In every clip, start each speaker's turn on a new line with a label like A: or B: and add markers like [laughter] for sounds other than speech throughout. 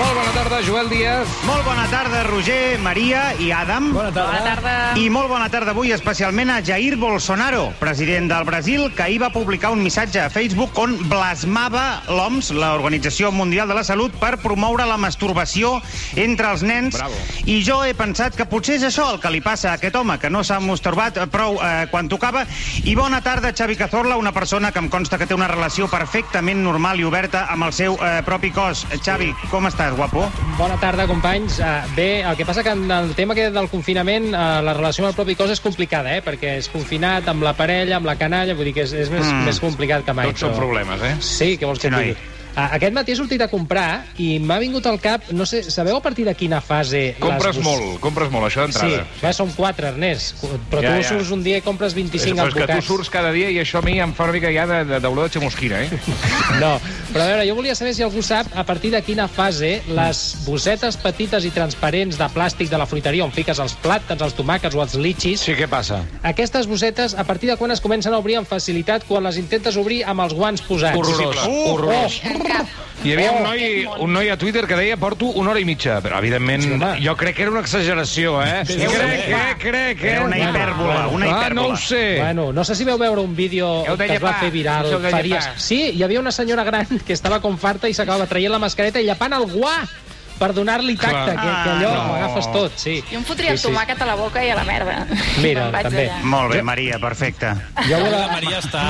A: Molt bona tarda, Joel Díaz.
B: Molt bona tarda, Roger, Maria i Adam. Bona tarda.
C: Bona tarda.
B: I molt bona tarda avui especialment a Jair Bolsonaro, president del Brasil, que ahir va publicar un missatge a Facebook on blasmava l'OMS, l'Organització Mundial de la Salut, per promoure la masturbació entre els nens.
A: Bravo.
B: I jo he pensat que potser és això el que li passa a aquest home, que no s'ha masturbat prou eh, quan tocava. I bona tarda, Xavi Cazorla, una persona que em consta que té una relació perfectament normal i oberta amb el seu eh, propi cos. Xavi, com estàs, guapo?
C: Bona tarda, companys. Uh, bé, el que passa que en el tema aquest del confinament, uh, la relació amb el propi cos és complicada, eh? perquè és confinat amb la parella, amb la canalla, vull dir que és, és més, mm. més complicat que mai.
A: Tots són
C: però-
A: problemes, eh?
C: Sí, què vols que
B: Sí,
C: et
B: noi.
C: digui? Ah, Aquest matí he sortit a comprar i m'ha vingut al cap, no sé, sabeu a partir de quina fase...
A: Compres
C: les... bus-
A: molt, compres molt, això
C: Sí,
A: d'entrada.
C: va, som quatre, Ernest. Cu- Però
A: Ja,
C: tu
A: ja.
C: surts un dia i compres
A: És,
C: 25
A: però és que tu
C: advocats.
A: surts cada dia i això a mi em fa una mica ja de, de, d'olor de xamusquina, eh?
C: No, però a veure, jo volia saber si algú sap a partir de quina fase les bossetes petites i transparents de plàstic de la fruiteria on fiques els plàtans, els tomàquets o els litxis,
D: Sí, què passa?
C: aquestes bossetes, a partir de quan es comencen a obrir amb facilitat quan les intentes obrir amb els guants posats?
D: Horrorós,
B: Uh,
D: horrorós.
A: Hi havia un
C: Oh.
A: noi, un noi a Twitter que deia porto una hora i mitja, però evidentment...
C: Sí, home.
D: Jo crec que era una exageració, eh?
A: crec, crec, crec, crec, eh?
B: Era una hipèrbola, una
A: ah,
B: hipèrbola.
A: no ho sé.
C: Bueno, no sé si veu veure un vídeo
A: Heu de
C: que es va
A: llepar,
C: fer viral.
A: us heu de
C: Faries-
A: llepar.
C: Sí, hi havia una senyora gran que estava com farta i s'acabava traient la mascareta i llepant el guà per donar-li tacte, que, que allò
B: Ah,
C: ho
B: no.
C: agafes tot, sí.
E: Jo em fotria
C: Sí,
E: el
C: sí.
E: tomàquet a la boca i a la merda.
C: Mira,
E: Me'n vaig
C: també.
E: allà.
B: Molt bé, Maria, perfecte.
D: Jo la Maria està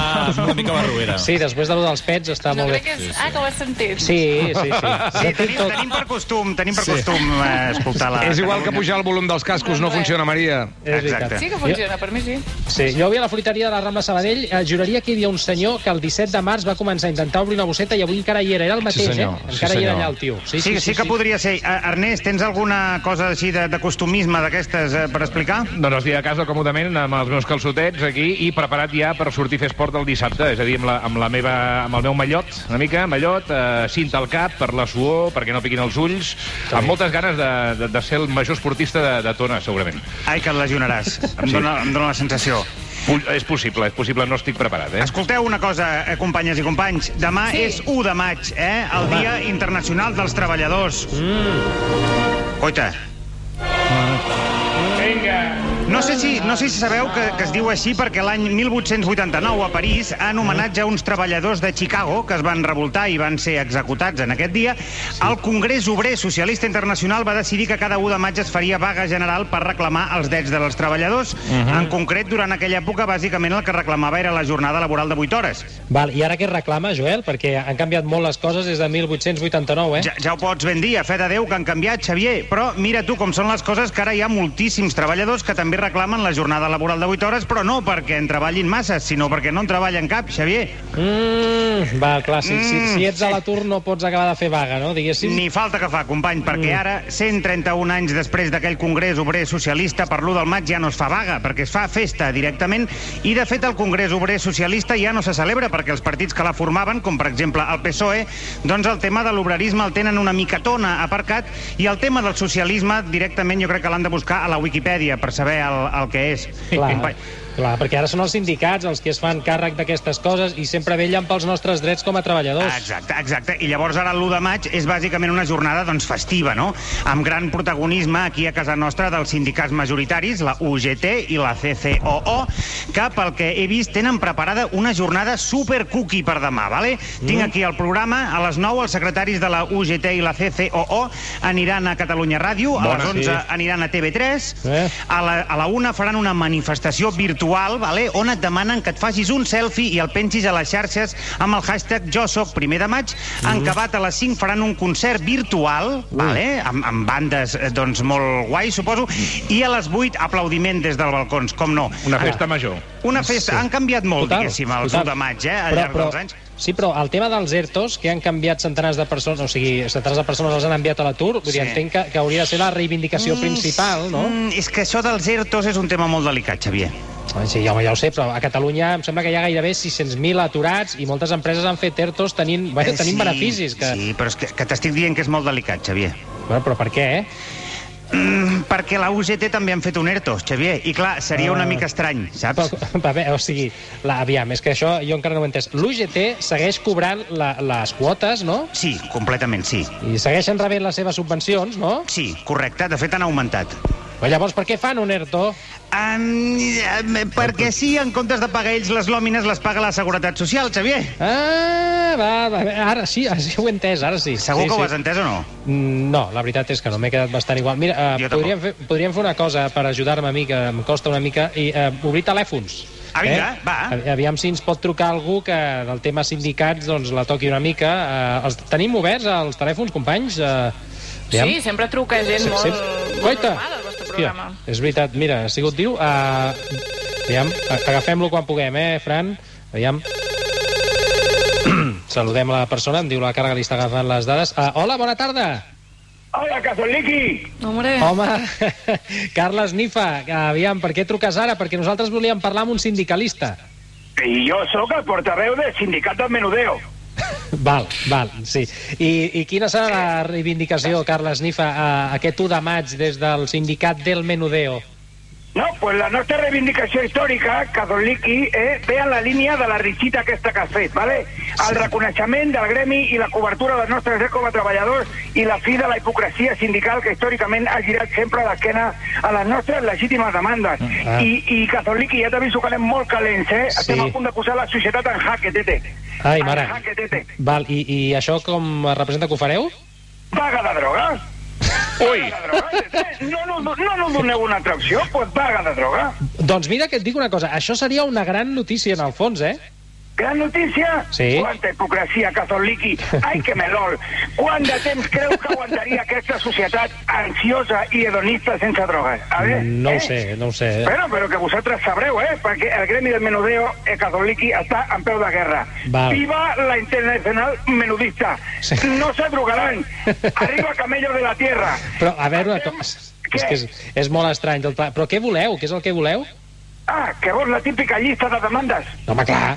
D: una mica barruera.
C: Sí, després de lo dels pets està
E: Jo
C: molt
E: crec
C: bé.
E: que és... Ah, que ho has sentit.
C: Sí, sí, sí.
B: Sí,
C: S'ha fet
B: tenim,
C: tot.
B: tenim per costum, tenim per costum eh, escoltar la...
A: És igual que
B: Catalunya.
A: pujar el volum dels cascos, no
E: Doncs res.
A: funciona, Maria.
C: És veritat.
B: Exacte.
E: Sí que funciona, per mi sí.
C: Sí, jo havia a la fruiteria de la Rambla Sabadell, eh, juraria que hi havia un senyor que el 17 de març va començar a intentar obrir una bosseta i avui encara hi era, era el mateix,
D: senyor,
C: eh?
D: sí,
C: Encara hi era
D: senyor.
C: allà el tio.
B: Sí, sí, sí que podria ser. Eh, Ernest, tens alguna cosa així de, de costumisme d'aquestes eh, per explicar?
A: Doncs estic a casa còmodament amb els meus calçotets aquí i preparat ja per sortir a fer esport el dissabte, és a dir, amb, la, amb, la meva, amb el meu mallot, una mica, mallot, eh, cinta al cap, per la suor, perquè no piquin els ulls, amb moltes ganes de, de, de ser el major esportista de, de Tona, segurament.
B: Ai, que et lesionaràs. Em dóna, em dóna la sensació.
A: Pu- És possible, és possible, no estic preparat, eh?
B: Escolteu una cosa, eh, companyes i companys. Demà
E: Sí.
B: és 1 de maig, eh? El Dia Internacional dels Treballadors. Mm. Coita,
A: Vinga!
B: No sé si, no sé si sabeu que, que es diu així perquè l'any 1889 a París, en homenatge a uns treballadors de Chicago que es van revoltar i van ser executats en aquest dia, el Congrés Obrer Socialista Internacional va decidir que cada 1 de maig es faria vaga general per reclamar els drets dels treballadors. En concret, durant aquella època, bàsicament el que reclamava era la jornada laboral de 8 hores.
C: Val, I ara què reclama, Joel? Perquè han canviat molt les coses des de 1889, eh?
B: Ja, ja ho pots ben dir, a fe de Déu que han canviat, Xavier. Però mira tu com són les coses, que ara hi ha moltíssims treballadors que també reclamen la jornada laboral de 8 hores, però no perquè en treballin masses, sinó perquè no en treballen cap, Xavier.
C: Mm, val, clar, si, si, si ets a l'atur no pots acabar de fer vaga, no? Diguéssim.
B: Ni falta que fa, company, perquè ara, 131 anys després d'aquell Congrés Obrer Socialista, per l'1 del maig ja no es fa vaga, perquè es fa festa directament, i de fet el Congrés Obrer Socialista ja no se celebra perquè els partits que la formaven, com per exemple el PSOE, doncs el tema de l'obrerisme el tenen una micatona aparcat, i el tema del socialisme directament jo crec que l'han de buscar a la Wikipedia per saber el, el que és.
C: Clar,
B: Company,
C: clar, perquè ara són els sindicats els que es fan càrrec d'aquestes coses i sempre vellen pels nostres drets com a treballadors.
B: Ah, Exacte, exacte. I llavors ara l'1 de maig és bàsicament una jornada doncs, festiva, no? Amb gran protagonisme aquí a casa nostra dels sindicats majoritaris, la UGT i la CCOO, que pel que he vist tenen preparada una jornada super cookie per demà, vale? Tinc aquí el programa, a les 9 els secretaris de la UGT i la CCOO aniran a Catalunya Ràdio, a les 11 aniran a TV3,
C: Eh?
B: a la, a la una faran una manifestació virtual, vale? on et demanen que et facis un selfie i el pengis a les xarxes amb el hashtag jo soc primer de maig.
C: Mhm.
B: En acabat a les 5 faran un concert virtual, vale? amb, amb bandes eh, doncs, molt guai, suposo, i a les 8 aplaudiment des dels balcons, com no.
A: Una festa major.
B: Una festa. Han canviat molt,
C: Total,
B: diguéssim, el
C: total.
B: 1 de maig, eh, al
C: Però-
B: llarg
C: però-
B: dels anys.
C: Sí, però el tema dels ERTOs, que han canviat centenars de persones, o sigui, centenars de persones els han enviat a l'atur, vull dir,
B: Sí.
C: entenc que, que hauria de ser la reivindicació principal, no?
B: Mm, és que això dels ERTOs és un tema molt delicat, Xavier.
C: Sí, home, ja ho sé, però a Catalunya em sembla que hi ha gairebé 600.000 aturats i moltes empreses han fet ERTOs tenint, bueno,
B: Eh,
C: tenint beneficis. Que...
B: Sí, però és que, que t'estic dient que és molt delicat, Xavier.
C: Bueno, però per què, eh?
B: Mm, perquè la UGT també han fet un ERTO, Xavier, i clar, seria una
C: Ah.
B: mica estrany, saps?
C: Però, [laughs] va bé, o sigui, la, aviam, és que això jo encara no ho he entès. L'UGT segueix cobrant la, les quotes, no?
B: Sí, completament, sí.
C: I segueixen rebent les seves subvencions, no?
B: Sí, correcte, de fet han augmentat.
C: Però llavors, per què fan un ERTO?
B: Um, perquè sí, en comptes de pagar ells les lòmines, les paga la Seguretat Social, Xavier.
C: Ah, va, va, bé, ara sí, ara sí ho he entès, ara sí.
B: Segur
C: sí,
B: que
C: sí.
B: ho has entès o no?
C: Mm, No, la veritat és que no, m'he quedat bastant igual. Mira,
B: Jo
C: eh,
B: tampoc.
C: podríem, fer, podríem fer una cosa per ajudar-me a mi, que em costa una mica, i eh, obrir telèfons.
B: Ah, vinga, va.
C: A- Aviam si ens pot trucar algú que del tema sindicats doncs, la toqui una mica. Eh, els tenim oberts els telèfons, companys? Eh, aviam.
E: Sí, sempre truca gent molt,
C: Sí.
E: molt
C: Guaita!
E: normal al vostre
C: Hòstia,
E: programa.
C: és veritat, mira, ha sigut diu... Uh, aviam, a- agafem-lo quan puguem, eh, Fran? Aviam. [clears throat] Saludem la persona, em diu la cara que li està agafant les dades. Uh, hola, bona tarda!
F: Hola, Cazoliqui.
E: No, hombre.
C: Home, [laughs] Carles Nifa, aviam, per què truques ara? Perquè nosaltres volíem parlar amb un sindicalista.
F: I jo sóc el portaveu del sindicat del Menudeo.
C: Val, val, sí. I, i quina serà la reivindicació, Carles Nifa, a, aquest 1 de maig des del sindicat del Menudeo?
F: No, pues la nostra reivindicació històrica, Cazoliqui, eh, ve en la línia de la risita aquesta que has fet, ¿vale? el reconeixement del gremi i la cobertura dels nostres drets com a treballadors i la fi de la hipocresia sindical que històricament ha girat sempre d'esquena a les nostres legítimes demandes.
C: Ah.
F: I, i Cazoliqui, ja t'aviso que anem molt calents, eh?
C: Sí.
F: Estem a punt de posar la societat en jaque, tete.
C: Ai, mare.
F: En jaque, tete.
C: Val, i, i això com es representa que ho fareu?
F: Vaga de droga.
A: Ui!
F: Vaga de droga. No, no, no, no, no doneu una altra opció, pues vaga de droga.
C: Doncs mira que et dic una cosa, això seria una gran notícia en el fons, eh?
F: Gran notícia?
C: Sí.
F: Quanta hipocresia, Cazoliqui. Ai, que melol. Quant de temps creu que aguantaria aquesta societat ansiosa i hedonista sense drogues? A veure,
C: No
F: eh?
C: ho sé, no ho sé.
F: Bueno, però que vosaltres sabreu, eh? Perquè el gremi del menudeo eh, Cazoliqui està en peu de guerra.
C: Val.
F: Viva la internacional menudista.
C: Sí.
F: No se drogaran. Arriba camello de la tierra.
C: Però, a veure, una cosa... És que és, és molt estrany tot plegat. Però què voleu? Què és el que voleu?
F: Ah, que vols la típica llista de demandes.
C: No, home, clar.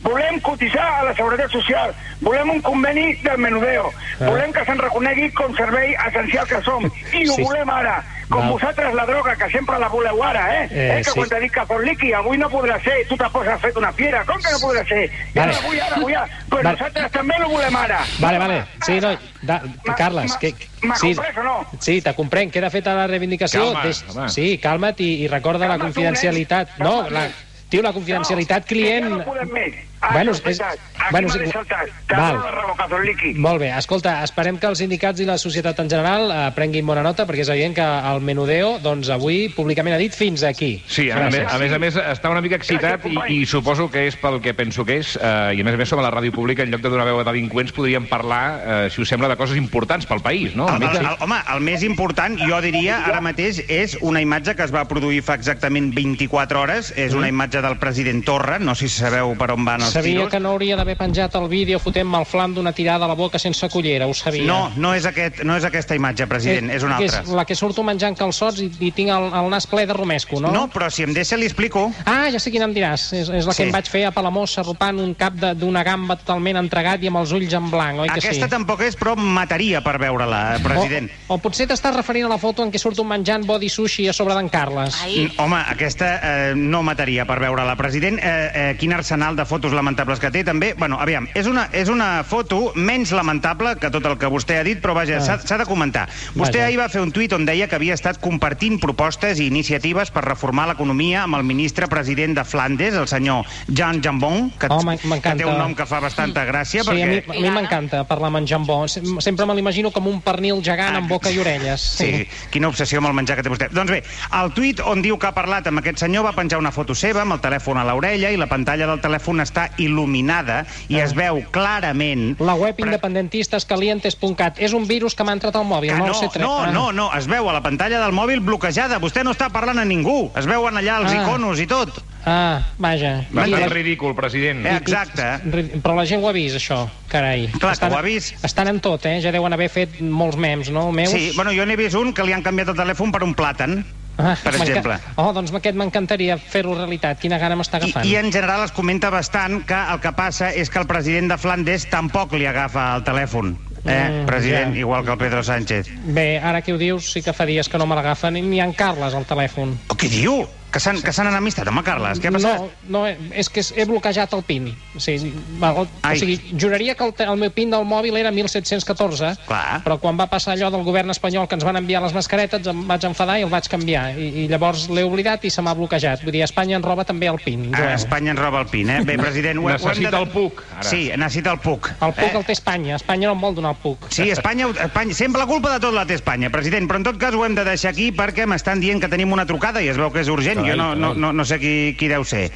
F: Volem cotitzar a la Seguretat Social, volem un conveni del menudeo,
C: Ah.
F: volem que se'n reconegui com servei essencial que som, i ho
C: Sí.
F: volem ara, com
C: Val.
F: vosaltres la droga, que sempre la voleu ara, eh?
C: Eh,
F: eh, que
C: sí.
F: quan t'he dit que per líqui, avui no podrà ser, tu te poses fet una fiera, com que no podrà ser? Jo
C: Vale.
F: la vull ara, vull ara, però
C: Vale.
F: nosaltres també ho volem ara.
C: Vale, vale. Sí, no, da,
F: Ma-
C: Carles...
F: ma-
C: Que,
F: m'ha
C: sí,
F: comprès o no?
C: Sí, te comprenc. Queda feta la reivindicació.
A: Calma, home.
C: sí, calma't i, i recorda
F: Calma,
C: la confidencialitat.
F: tu, nen.
C: No,
F: Calma,
C: la,
F: nen.
C: tio, la confidencialitat client...
F: No, que ja no podem més. Ah,
C: Bueno,
F: bueno,
C: és-
F: és... Aquí
C: bueno,
F: bueno, m'ha
C: sí,
F: de saltar.
C: val.
F: Val. Val.
C: Molt bé, escolta, esperem que els sindicats i la societat en general eh, prenguin bona nota, perquè és evident que el Menudeo, doncs, avui públicament ha dit fins aquí.
A: Sí, a, me,
C: Gràcies.
A: a més a més està una mica excitat i, i suposo que és pel que penso que és, eh, i a més a més som a la ràdio pública, en lloc de donar veu a delinqüents podríem parlar, eh, si us sembla, de coses importants pel país, no?
B: El,
A: Una
B: el,
A: mica.
B: el, home, el més important, jo diria, ara mateix, és una imatge que es va produir fa exactament 24 hores. És una imatge del president Torra. No sé si sabeu per on van els
C: Mm. Sabia
B: tiros.
C: que no hauria d'haver penjat el vídeo fotent-me el flam d'una tirada a la boca sense cullera, ho sabia.
B: No, no és, aquest, no és aquesta imatge, president, és una altra.
C: Eh, És la que surto menjant calçots i, i tinc el, el nas ple de romesco, no?
B: No, però si em deixa li explico.
C: Ah, ja sé quina em diràs. És, és la
B: Sí.
C: que em vaig fer a Palamós arropant un cap de- d'una gamba totalment entregat i amb els ulls en blanc, oi que
B: Aquesta
C: sí?
B: tampoc és, però em mataria per veure-la, eh, president.
C: O, o potser t'estàs referint a la foto en què surto menjant body sushi a sobre d'en Carles.
E: Ai,
B: Mm, Home, aquesta eh, no mataria per veure-la. President, eh, eh, quin arsenal de fotos lamentables que té, també. Bueno, aviam, és una, és una foto menys lamentable que tot el que vostè ha dit, però vaja, s'ha s'ha de comentar. Vostè
C: Ah. Vaja.
B: ahir va fer un tuit on deia que havia estat compartint propostes i iniciatives per reformar l'economia amb el ministre president de Flandes, el senyor Jean Jambon, que,
C: Oh, m'en-
B: que té
C: m'encanta.
B: un nom que fa bastanta gràcia,
C: sí,
B: perquè...
C: a mi- a mi m'encanta parlar amb en Jambó. Sem- Sempre me l'imagino com un pernil gegant amb boca i orelles.
B: Ah, Sí, quina obsessió amb el menjar que té vostè. Doncs bé, el tuit on diu que ha parlat amb aquest senyor va penjar una foto seva amb el telèfon a l'orella i la pantalla del telèfon està il·luminada i es veu clarament...
C: Ah. La web independentistascalientes.cat és un virus que m'ha entrat al mòbil,
B: Que
C: no,
B: no,
C: el sé tret.
B: no,
C: Ah.
B: no, no, es veu a la pantalla del mòbil bloquejada. Vostè no està parlant a ningú. Es veuen allà els
C: Ah.
B: iconos i tot.
C: Ah, vaja.
A: Va
C: I
A: estar
C: la-
A: ridícul, president.
B: Eh, exacte.
C: Ri- Però la gent ho ha vist, això, carai.
B: Clar que ho ha vist.
C: Estan en tot, eh? Ja deuen haver fet molts mems, no, meus?
B: Sí, bueno, jo n'he vist un que li han canviat el telèfon per un plàtan,
C: Ah,
B: per
C: m'enca-
B: exemple.
C: Oh, doncs aquest m'encantaria fer-ho realitat. Quina gana m'està
B: I,
C: agafant.
B: I en general es comenta bastant que el que passa és que el president de Flandes tampoc li agafa el telèfon. eh,
C: Mm,
B: president,
C: ja.
B: igual que el Pedro Sánchez.
C: Bé, ara que ho dius, sí que fa dies que no me l'agafen ni en Carles al telèfon.
B: Oh, què diu? Que s'han que s'han enemistat, home, Carles, què ha passat?
C: No, no, és que he bloquejat el PIN. O sigui, val, o
B: Ai.
C: sigui juraria que el, te- el meu PIN del mòbil era 1714,
B: Clar.
C: però quan va passar allò del govern espanyol que ens van enviar les mascaretes em vaig enfadar i el vaig canviar. I, i llavors l'he oblidat i se m'ha bloquejat. Vull dir, Espanya ens roba també el PIN.
B: A
C: Joel.
B: Espanya ens roba el PIN, eh? Bé, president, ho, ho hem
G: Necessita
B: de...
G: el PUC, ara.
B: Sí, necessita el PUC.
C: El PUC el té Espanya. Espanya no em vol donar el PUC.
B: Sí, Espanya, Espanya, sempre la culpa de tot la té Espanya, president, però en tot cas ho hem de deixar aquí perquè m'estan dient que tenim una trucada i es veu que és urgent,
H: Carai,
B: jo no, no,
H: carai.
B: no, no sé qui, qui deu ser.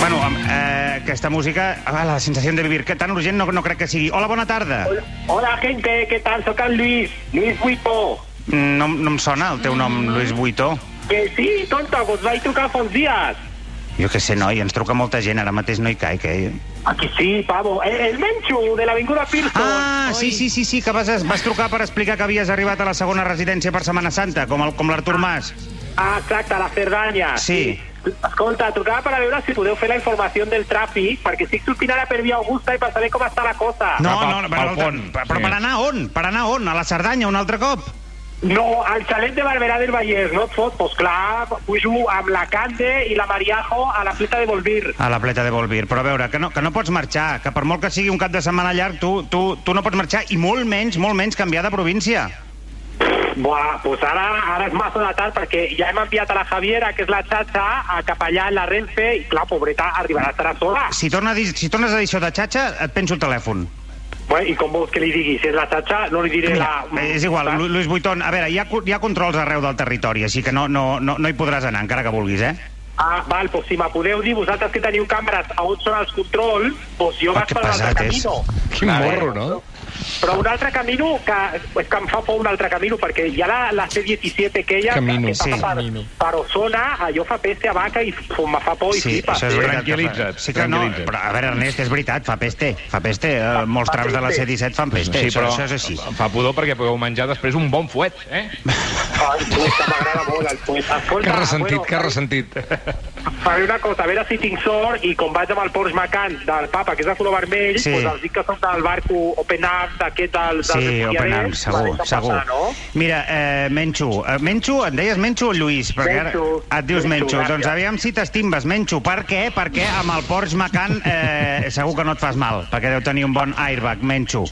B: Bueno, amb, eh, aquesta música, ah, la sensació de vivir, que tan urgent no, no crec que sigui. Hola, bona tarda.
F: Hola, gente, ¿qué tal? Soy Can Luis, Luis Buito.
B: No, no em sona el teu nom, Luis Buitó.
F: Que sí, pues, tonta, vos vais a trucar fa uns dies.
B: Jo què sé, noi, ens truca molta gent, ara mateix no hi caic, eh?
F: Aquí sí, pavo. El, el Menchu, de l'Avinguda Pearson.
B: Ah, sí, sí, sí, sí, que vas, vas trucar per explicar que havies arribat a la segona residència per Setmana Santa, com el- com l'Artur Mas.
F: Ah, exacte, a la Cerdanya.
B: Sí.
F: Escolta, trucava per a veure si podeu fer la informació del tràfic, perquè estic sortint ara per via Augusta i per saber com està la cosa.
B: No,
G: pel-
B: no, no,
G: pel
B: però,
G: pont,
B: però, però
G: sí.
B: per anar on? Per anar on? A la Cerdanya, un altre cop?
F: No, al xalet de Barberà del Vallès, no et fot? Pues clar, pujo amb la Cande i la Mariajo a la pista de Volvir.
B: A la pleta de Volvir. Però a veure, que no, que no pots marxar, que per molt que sigui un cap de setmana llarg, tu, tu, tu no pots marxar, i molt menys, molt menys canviar de província.
F: Buah, pues ara, ara és massa de tard perquè ja hem enviat a la Javiera, que és la xatxa, a cap allà en la Renfe i clar, pobreta, arribarà estarà sola.
B: Si, torna a dir, si tornes a dir això de xatxa, et penso el telèfon.
F: Bueno, I com vols que li digui? Si és la xatxa, no li diré
B: Mira, eh,
F: la...
B: és igual, Lu- Lluís Buitón, a veure, hi ha, co- hi ha controls arreu del territori, així que no, no, no, no hi podràs anar, encara que vulguis, eh?
F: Ah, val, pues si me podeu dir vosaltres que teniu càmeres a on són els controls, pues jo
B: Ah, que
F: vaig per un altre
B: pesat és.
F: camino.
G: Quin morro, no?
F: Però un altre camino que... És que em fa por un altre camino, perquè hi ha la, la C-17 aquella
H: Camino,
F: que passa
B: sí.
F: per, per Osona, allò fa peste a vaca i fu- me fa por i flipa.
B: això és veritat.
G: Tranquil·litza't,
B: Sí que no,
G: tranquil·litza't.
B: però a veure, Ernest, és veritat, fa peste, fa peste. eh, molts trams de la
F: peste.
B: C-17 fan peste,
G: Sí,
B: això,
G: però
B: això és així.
G: fa pudor perquè podeu menjar després un bon fuet, eh?
F: Ai, puta, m'agrada molt el puet.
B: [laughs]
F: Escolta,
I: Que ressentit, que
F: pues, bueno,
I: ressentit.
B: eh,
F: faré una cosa, a veure si tinc sort i com vaig amb el Porsche Macan del papa, que és de color vermell,
B: Sí.
F: sí. doncs els dic que som del barco Open Arms, d'aquest del... del
B: Sí,
F: Ripollès,
B: Open Arms,
F: a veure
B: segur,
F: què passa,
B: segur.
F: no?
B: Mira, eh, Menxo, eh, Menxo, et deies Menxo o Lluís? Perquè ara
F: Menxo.
B: et dius
F: Menxo,
B: Menxo.
F: gràcies.
B: Doncs aviam si t'estimbes, Menxo. Per què? Perquè amb el Porsche Macan eh, segur que no et fas mal, perquè deu tenir un bon airbag, Menxo.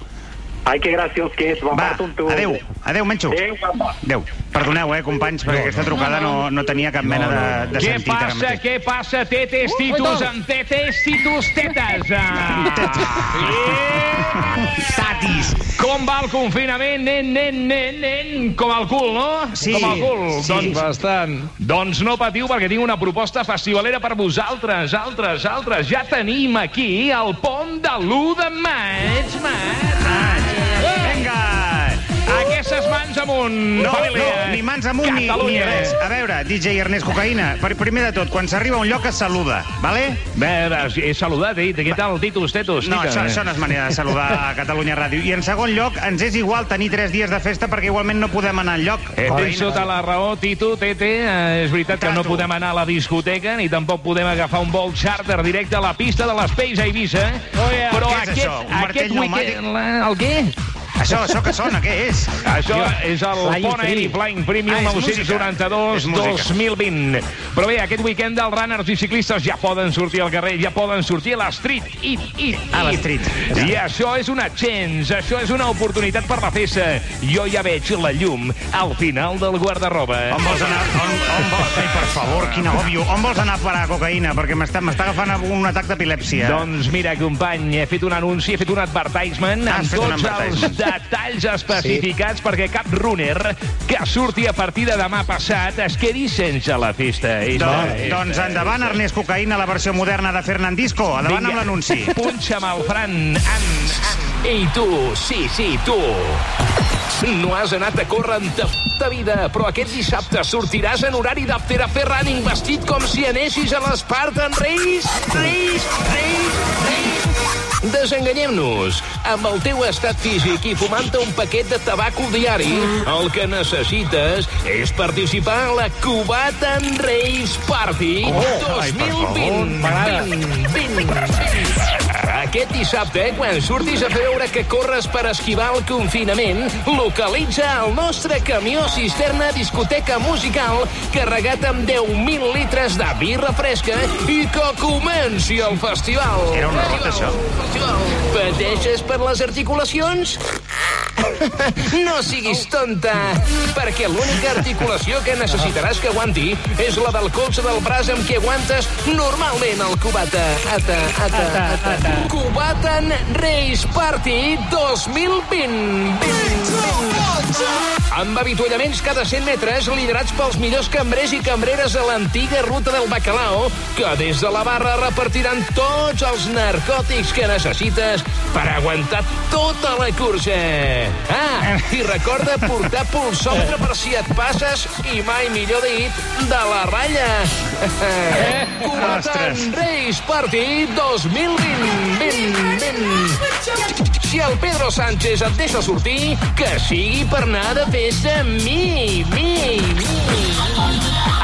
F: Ai, que graciós que és, bon
B: Va,
F: part un tu.
B: adeu, adeu, Menxo.
F: Adeu, guapa.
B: Adeu. Perdoneu, eh, companys, perquè aquesta trucada no, no tenia cap mena de, de
A: Què
B: sentit ara
A: passa,
B: mateix.
A: què passa, tetes, titus, antetes, titus, tetes? Ah!
B: Tatis!
A: Com va el confinament? Nen, nen, nen, nen, com el cul, no?
B: Sí,
A: Com el cul.
B: sí.
A: Doncs,
I: Bastant.
A: doncs no patiu, perquè tinc una proposta festivalera per vosaltres, altres, altres. Ja tenim aquí el pont de l'1 de maig, maig.
B: Vinga!
A: Aquestes mans amunt,
B: No, no,
A: família.
B: ni mans amunt ni, ni
A: eh, Catalunya. eh.
B: res. A veure, DJ Ernest Cocaïna, per primer de tot, quan s'arriba a un lloc es saluda, vale?
A: Bé, bé, he saludat, he dit, què tal, titus, eh? tetus?
B: No,
A: tita?
B: això, això no és manera de saludar a Catalunya Ràdio. I en segon lloc, ens és igual tenir tres dies de festa perquè igualment no podem anar enlloc.
A: Eh, tens tota la raó, Tito, Tete. Eh, és veritat que no
B: Tato.
A: podem anar a la discoteca ni tampoc podem agafar un vol charter directe a la pista de l'Espace a Eivissa. Oh, yeah. Però
B: Què és
A: aquest,
B: això? Un martell
A: aquest
B: pneumàtic?
A: weekend... La, el què?
B: Això, això que sona, què és?
A: Això és el
C: Flying
A: Pont Aeri
C: Free.
A: Flying Free
B: Ah, és música. És música.
A: 1992-2020. Però bé, aquest weekend els runners i ciclistes ja poden sortir al carrer, ja poden sortir a la street. It, it,
B: A la
A: it.
B: street.
A: I això és una chance, això és una oportunitat per la festa. Jo ja veig la llum al final del guardarroba.
B: On vols anar? On, on vols? Ai, per favor, quin òbvio. On vols anar a parar, cocaïna? Perquè m'està m'està agafant un atac d'epilèpsia.
A: Doncs mira, company, he fet un anunci, he fet un advertisement
B: Has
A: amb
B: fet Ah, un
A: tots els
B: advertisement.
A: detalls especificats sí. perquè cap runner que surti a partir de demà passat es quedi sense la festa. És
B: Doncs,
A: la-
B: doncs endavant, Ernest Cocaïna, la versió moderna de Fernandisco. Endavant amb
A: Vinga. [laughs]
B: l'anunci.
A: Punxa'm el Fran. An, an. Ei, tu, sí, sí, tu. No has anat a córrer en ta puta vida, però aquest dissabte sortiràs en horari d'After a fer running vestit com si anessis a l'Spartan Race, Race, Race, Race. Desenganyem-nos. Amb el teu estat físic i fumant un paquet de tabaco diari, el que necessites és participar a la Cubatan Race Party
B: Oh, ai, per favor,
A: 2020. 20, 20, 20.
J: Aquest dissabte, quan surtis a veure que corres per esquivar el confinament, localitza el nostre camió cisterna discoteca musical carregat amb 10.000 litres de birra fresca i que comenci el festival.
B: Era un rot, això.
J: Pateixes per les articulacions? No siguis tonta, perquè l'única articulació que necessitaràs que aguanti és la del colze del braç amb què aguantes normalment el cubata. Ata, ata, ata. ata. Cubaten Reis Party 2020. Amb avituallaments cada 100 metres, liderats pels millors cambrers i cambreres a l'antiga ruta del Bacalao, que des de la barra repartiran tots els narcòtics que necessites per aguantar tota la cursa. Ah, i recorda portar pulsòmetre per si et passes, i mai millor dit, de la ratlla.
B: Ostres.
J: Combatant Reis Party 2020. 20, 20. Si el Pedro Sánchez et deixa sortir, que sigui per anar de festa amb mi, mi, mi.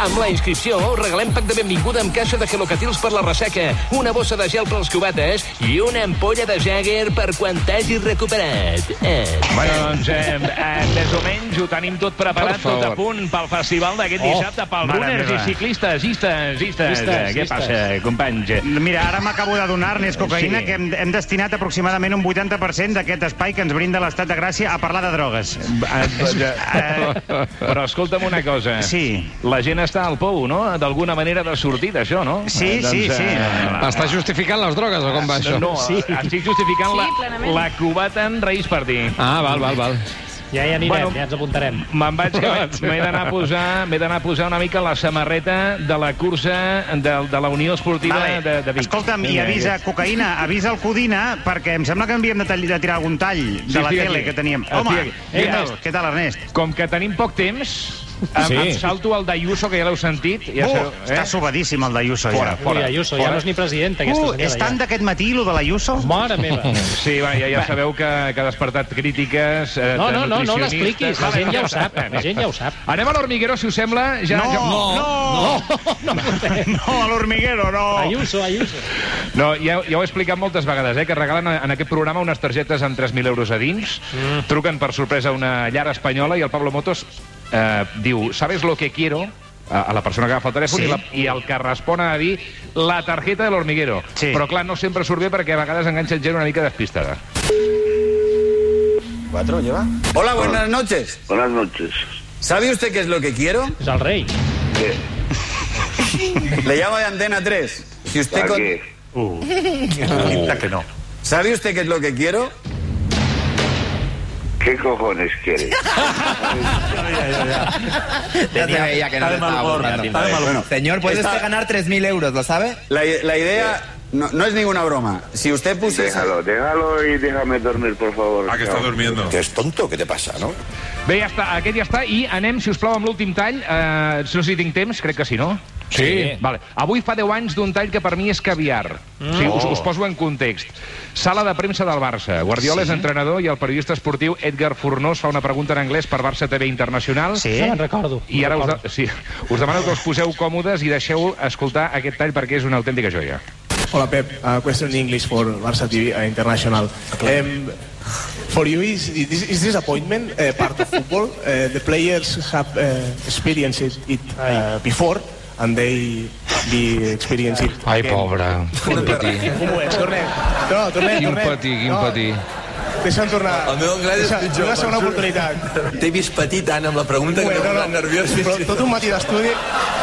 J: Amb la inscripció regalem pack de benvinguda amb caixa de gelocatils per la resseca, una bossa de gel per als cubates i una ampolla de Jagger per quan t'hagis recuperat. Eh.
A: Bueno, doncs, eh, eh, més o menys ho tenim tot preparat,
K: Per favor.
A: tot a punt pel festival d'aquest
B: Oh,
A: dissabte, pels
B: mare
A: runners i
B: meva.
A: ciclistes, istes, istes.
C: Istes,
A: Eh, Què
C: istes.
A: passa, companys?
B: Mira, ara m'acabo de donar, Ernest Cocaïna,
A: Sí.
B: que hem, hem destinat aproximadament un 80% d'aquest espai que ens brinda l'Estat de Gràcia a parlar de drogues.
K: [laughs]
A: Eh, Però escolta'm una cosa.
B: Sí.
A: La gent està al pou, no? D'alguna manera de sortir d'això, no? Doncs, eh,
B: Sí, sí, sí.
K: Està justificant les drogues o com va això?
A: No, sí. estic justificant
E: Sí,
A: la,
E: plenament.
A: la cubata en Reis Party.
K: Ah, val, val, val.
C: Ja hi anirem,
A: Bueno.
C: bueno, ja ens apuntarem.
A: Me'n vaig, que m'he- m'he d'anar a posar m'he d'anar a posar una mica la samarreta de la cursa de, de la Unió Esportiva
B: Vale.
A: de, de Vic.
B: Escolta'm, i
A: Vinga,
B: avisa,
A: que-
B: Cocaïna, avisa el Codina, perquè em sembla que havíem de, tall- de tirar algun tall de la
A: estic
B: tele
A: aquí.
B: que teníem.
A: Estic
B: Home,
A: aquí.
B: què
A: Vinga.
B: tal, què tal, Ernest?
A: Com que tenim poc temps, em,
D: Sí.
A: sí. em salto el d'Ayuso, que ja l'heu sentit. Ja eh?
B: Uh,
A: sabeu,
B: Està sobadíssim el d'Ayuso, ja.
C: Ui, Ayuso, ja no és ni presidenta, aquesta
B: Uh, és
C: senyora.
B: tant
C: ja.
B: d'aquest matí, lo de l'Ayuso?
C: Mare
B: [laughs]
C: meva.
A: Sí, va, ja, ja sabeu que, que ha despertat crítiques... Eh,
C: No,
A: de
C: no, no, no
A: nutricionistes.
C: l'expliquis, la
A: Vale,
C: gent ja
A: vale,
C: ho sap,
A: vale.
C: la gent ja ho sap.
A: Anem a l'Hormiguero, si us sembla. Ja,
B: No,
A: ja...
B: no, no, no, a l'Hormiguero,
A: Oh.
B: no.
C: Ayuso, Ayuso.
A: No, ja, ja ho he explicat moltes vegades, eh, que regalen en aquest programa unes targetes amb 3.000 euros a dins, mm. truquen per sorpresa a una llar espanyola i el Pablo Motos eh, diu, ¿sabes lo que quiero? a a la persona que agafa el telèfon
B: Sí.
A: sí. i, la, i el que respon a dir la targeta de l'hormiguero.
B: Sí.
A: Però clar, no sempre surt bé perquè a vegades enganxa gent una mica despistada.
L: Hola, buenas noches.
M: Buenas noches.
L: ¿Sabe usted qué es lo que quiero?
C: És el rei.
M: ¿Qué?
L: Le llamo de Antena 3. Si usted
M: ¿A
L: con-
M: qué?
L: ¿Sabe usted qué es lo que quiero?
M: ¿Qué cojones
L: [laughs]
M: quieres?
L: Ya te veía que no te estaba burlando. Bueno,
N: Señor, ¿puede
L: esta-
N: usted ganar 3.000 euros, lo sabe?
L: La, i- la idea no, no es ninguna broma. Si usted pusiese...
M: Déjalo, déjalo y déjame dormir, por favor.
K: Ah, que está
M: Chao.
K: durmiendo.
L: Que es tonto, ¿qué te pasa, no?
A: Bé, ja està, aquest ja està, i anem, si us plau, amb l'últim tall. Eh, no sé si tinc temps, crec que sí, no?
D: Sí.
A: Vale. Avui fa 10 anys d'un tall que per mi és caviar. Mm. Sí, us, us poso en context. Sala de premsa del Barça. Guardiola sí. és entrenador i el periodista esportiu Edgar Fornós fa una pregunta en anglès per Barça TV Internacional.
B: Sí.
C: Això me'n recordo.
A: I ara
C: me'n
A: us,
C: recordo.
A: de sí, us demano que us poseu còmodes i deixeu escoltar aquest tall perquè és una autèntica joia.
N: Hola, Pep. Uh, question in English for Barça TV uh, International. Um, for you, is, is, is this appointment uh, part of football? Uh, the players have uh, experienced it, it uh, before, and they be experience it.
K: Ai,
N: again.
K: pobre. Quin patir.
N: Un moment, tornem. No, tornem,
K: Quin
N: tornem.
K: patir, quin patir.
N: No, deixa'm tornar.
L: El meu anglès és
N: Deixa-
L: pitjor,
N: Una segona
L: per juro.
N: oportunitat.
L: T'he vist patir tant amb la pregunta
N: Bueno, no, Però tot un matí d'estudi...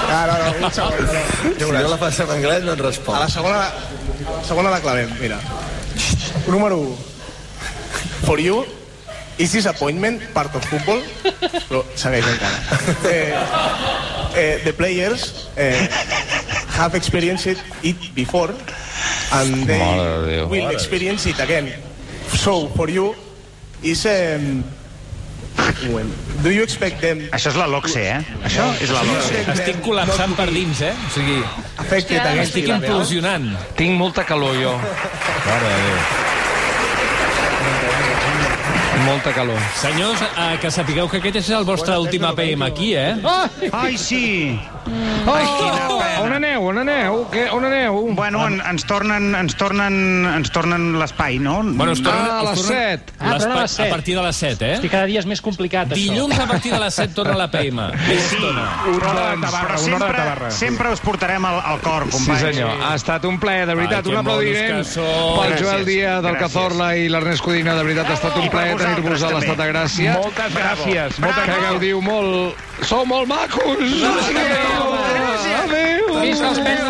N: Ah, no, no, un segon. No. Ja veuràs.
L: la faig en anglès no et
N: A
L: respon.
N: la segona, a la segona la clavem, mira. Número 1. For you, is this appointment part of football? Però segueix encara. Eh, eh, the players eh, have experienced it before and they
K: Mare de Déu.
N: will experience it again. So, for you, is... Um, un moment. do you expect them
B: Això és la LOCSE, eh? Això és la LOCSE.
D: Estic col·lapsant per dins, eh? O sigui,
N: affected again?
D: estic implosionant.
K: Tinc molta calor, jo.
D: Mare de Déu.
O: Molta calor.
N: Senyors, eh, que sapigueu que aquest és el vostre últim APM aquí, eh?
B: Ai, sí!
F: Ai, quina pena. On aneu? On aneu? Què, on aneu?
B: Bueno, en, ens tornen, ens tornen, ens tornen l'espai, no?
N: Bueno, es tornen,
F: Ah, a
N: es
F: les
N: tornen-
F: set.
C: Ah,
N: Les
C: tornen a
N: pa-
C: les set.
N: A partir de les 7, eh?
C: Hosti, cada dia és més complicat, això.
N: Dilluns a partir de les 7 torna l'APM. Més estona.
F: Una hora de
B: Doncs,
F: Tabarra,
B: però
F: una hora de
B: sempre,
F: Tabarra.
B: sempre us portarem al, al cor,
F: Sí,
B: companys.
F: senyor. Ha estat un plaer, de veritat.
N: Ai, que
F: un aplaudiment
N: monos que sou.
F: pel Joel
B: Gràcies,
F: Díaz, del
B: gràcies.
F: Cazorla i l'Ernest Codina. De veritat, ha estat
B: I
F: un
B: per
F: plaer
B: vosaltres,
F: tenir-vos a l'estat de
B: també.
F: gràcia.
B: Moltes gràcies.
F: Molta que
B: Bravo.
F: gaudiu molt. Sou molt macos. Adéu. Adéu.
C: Visca els pèls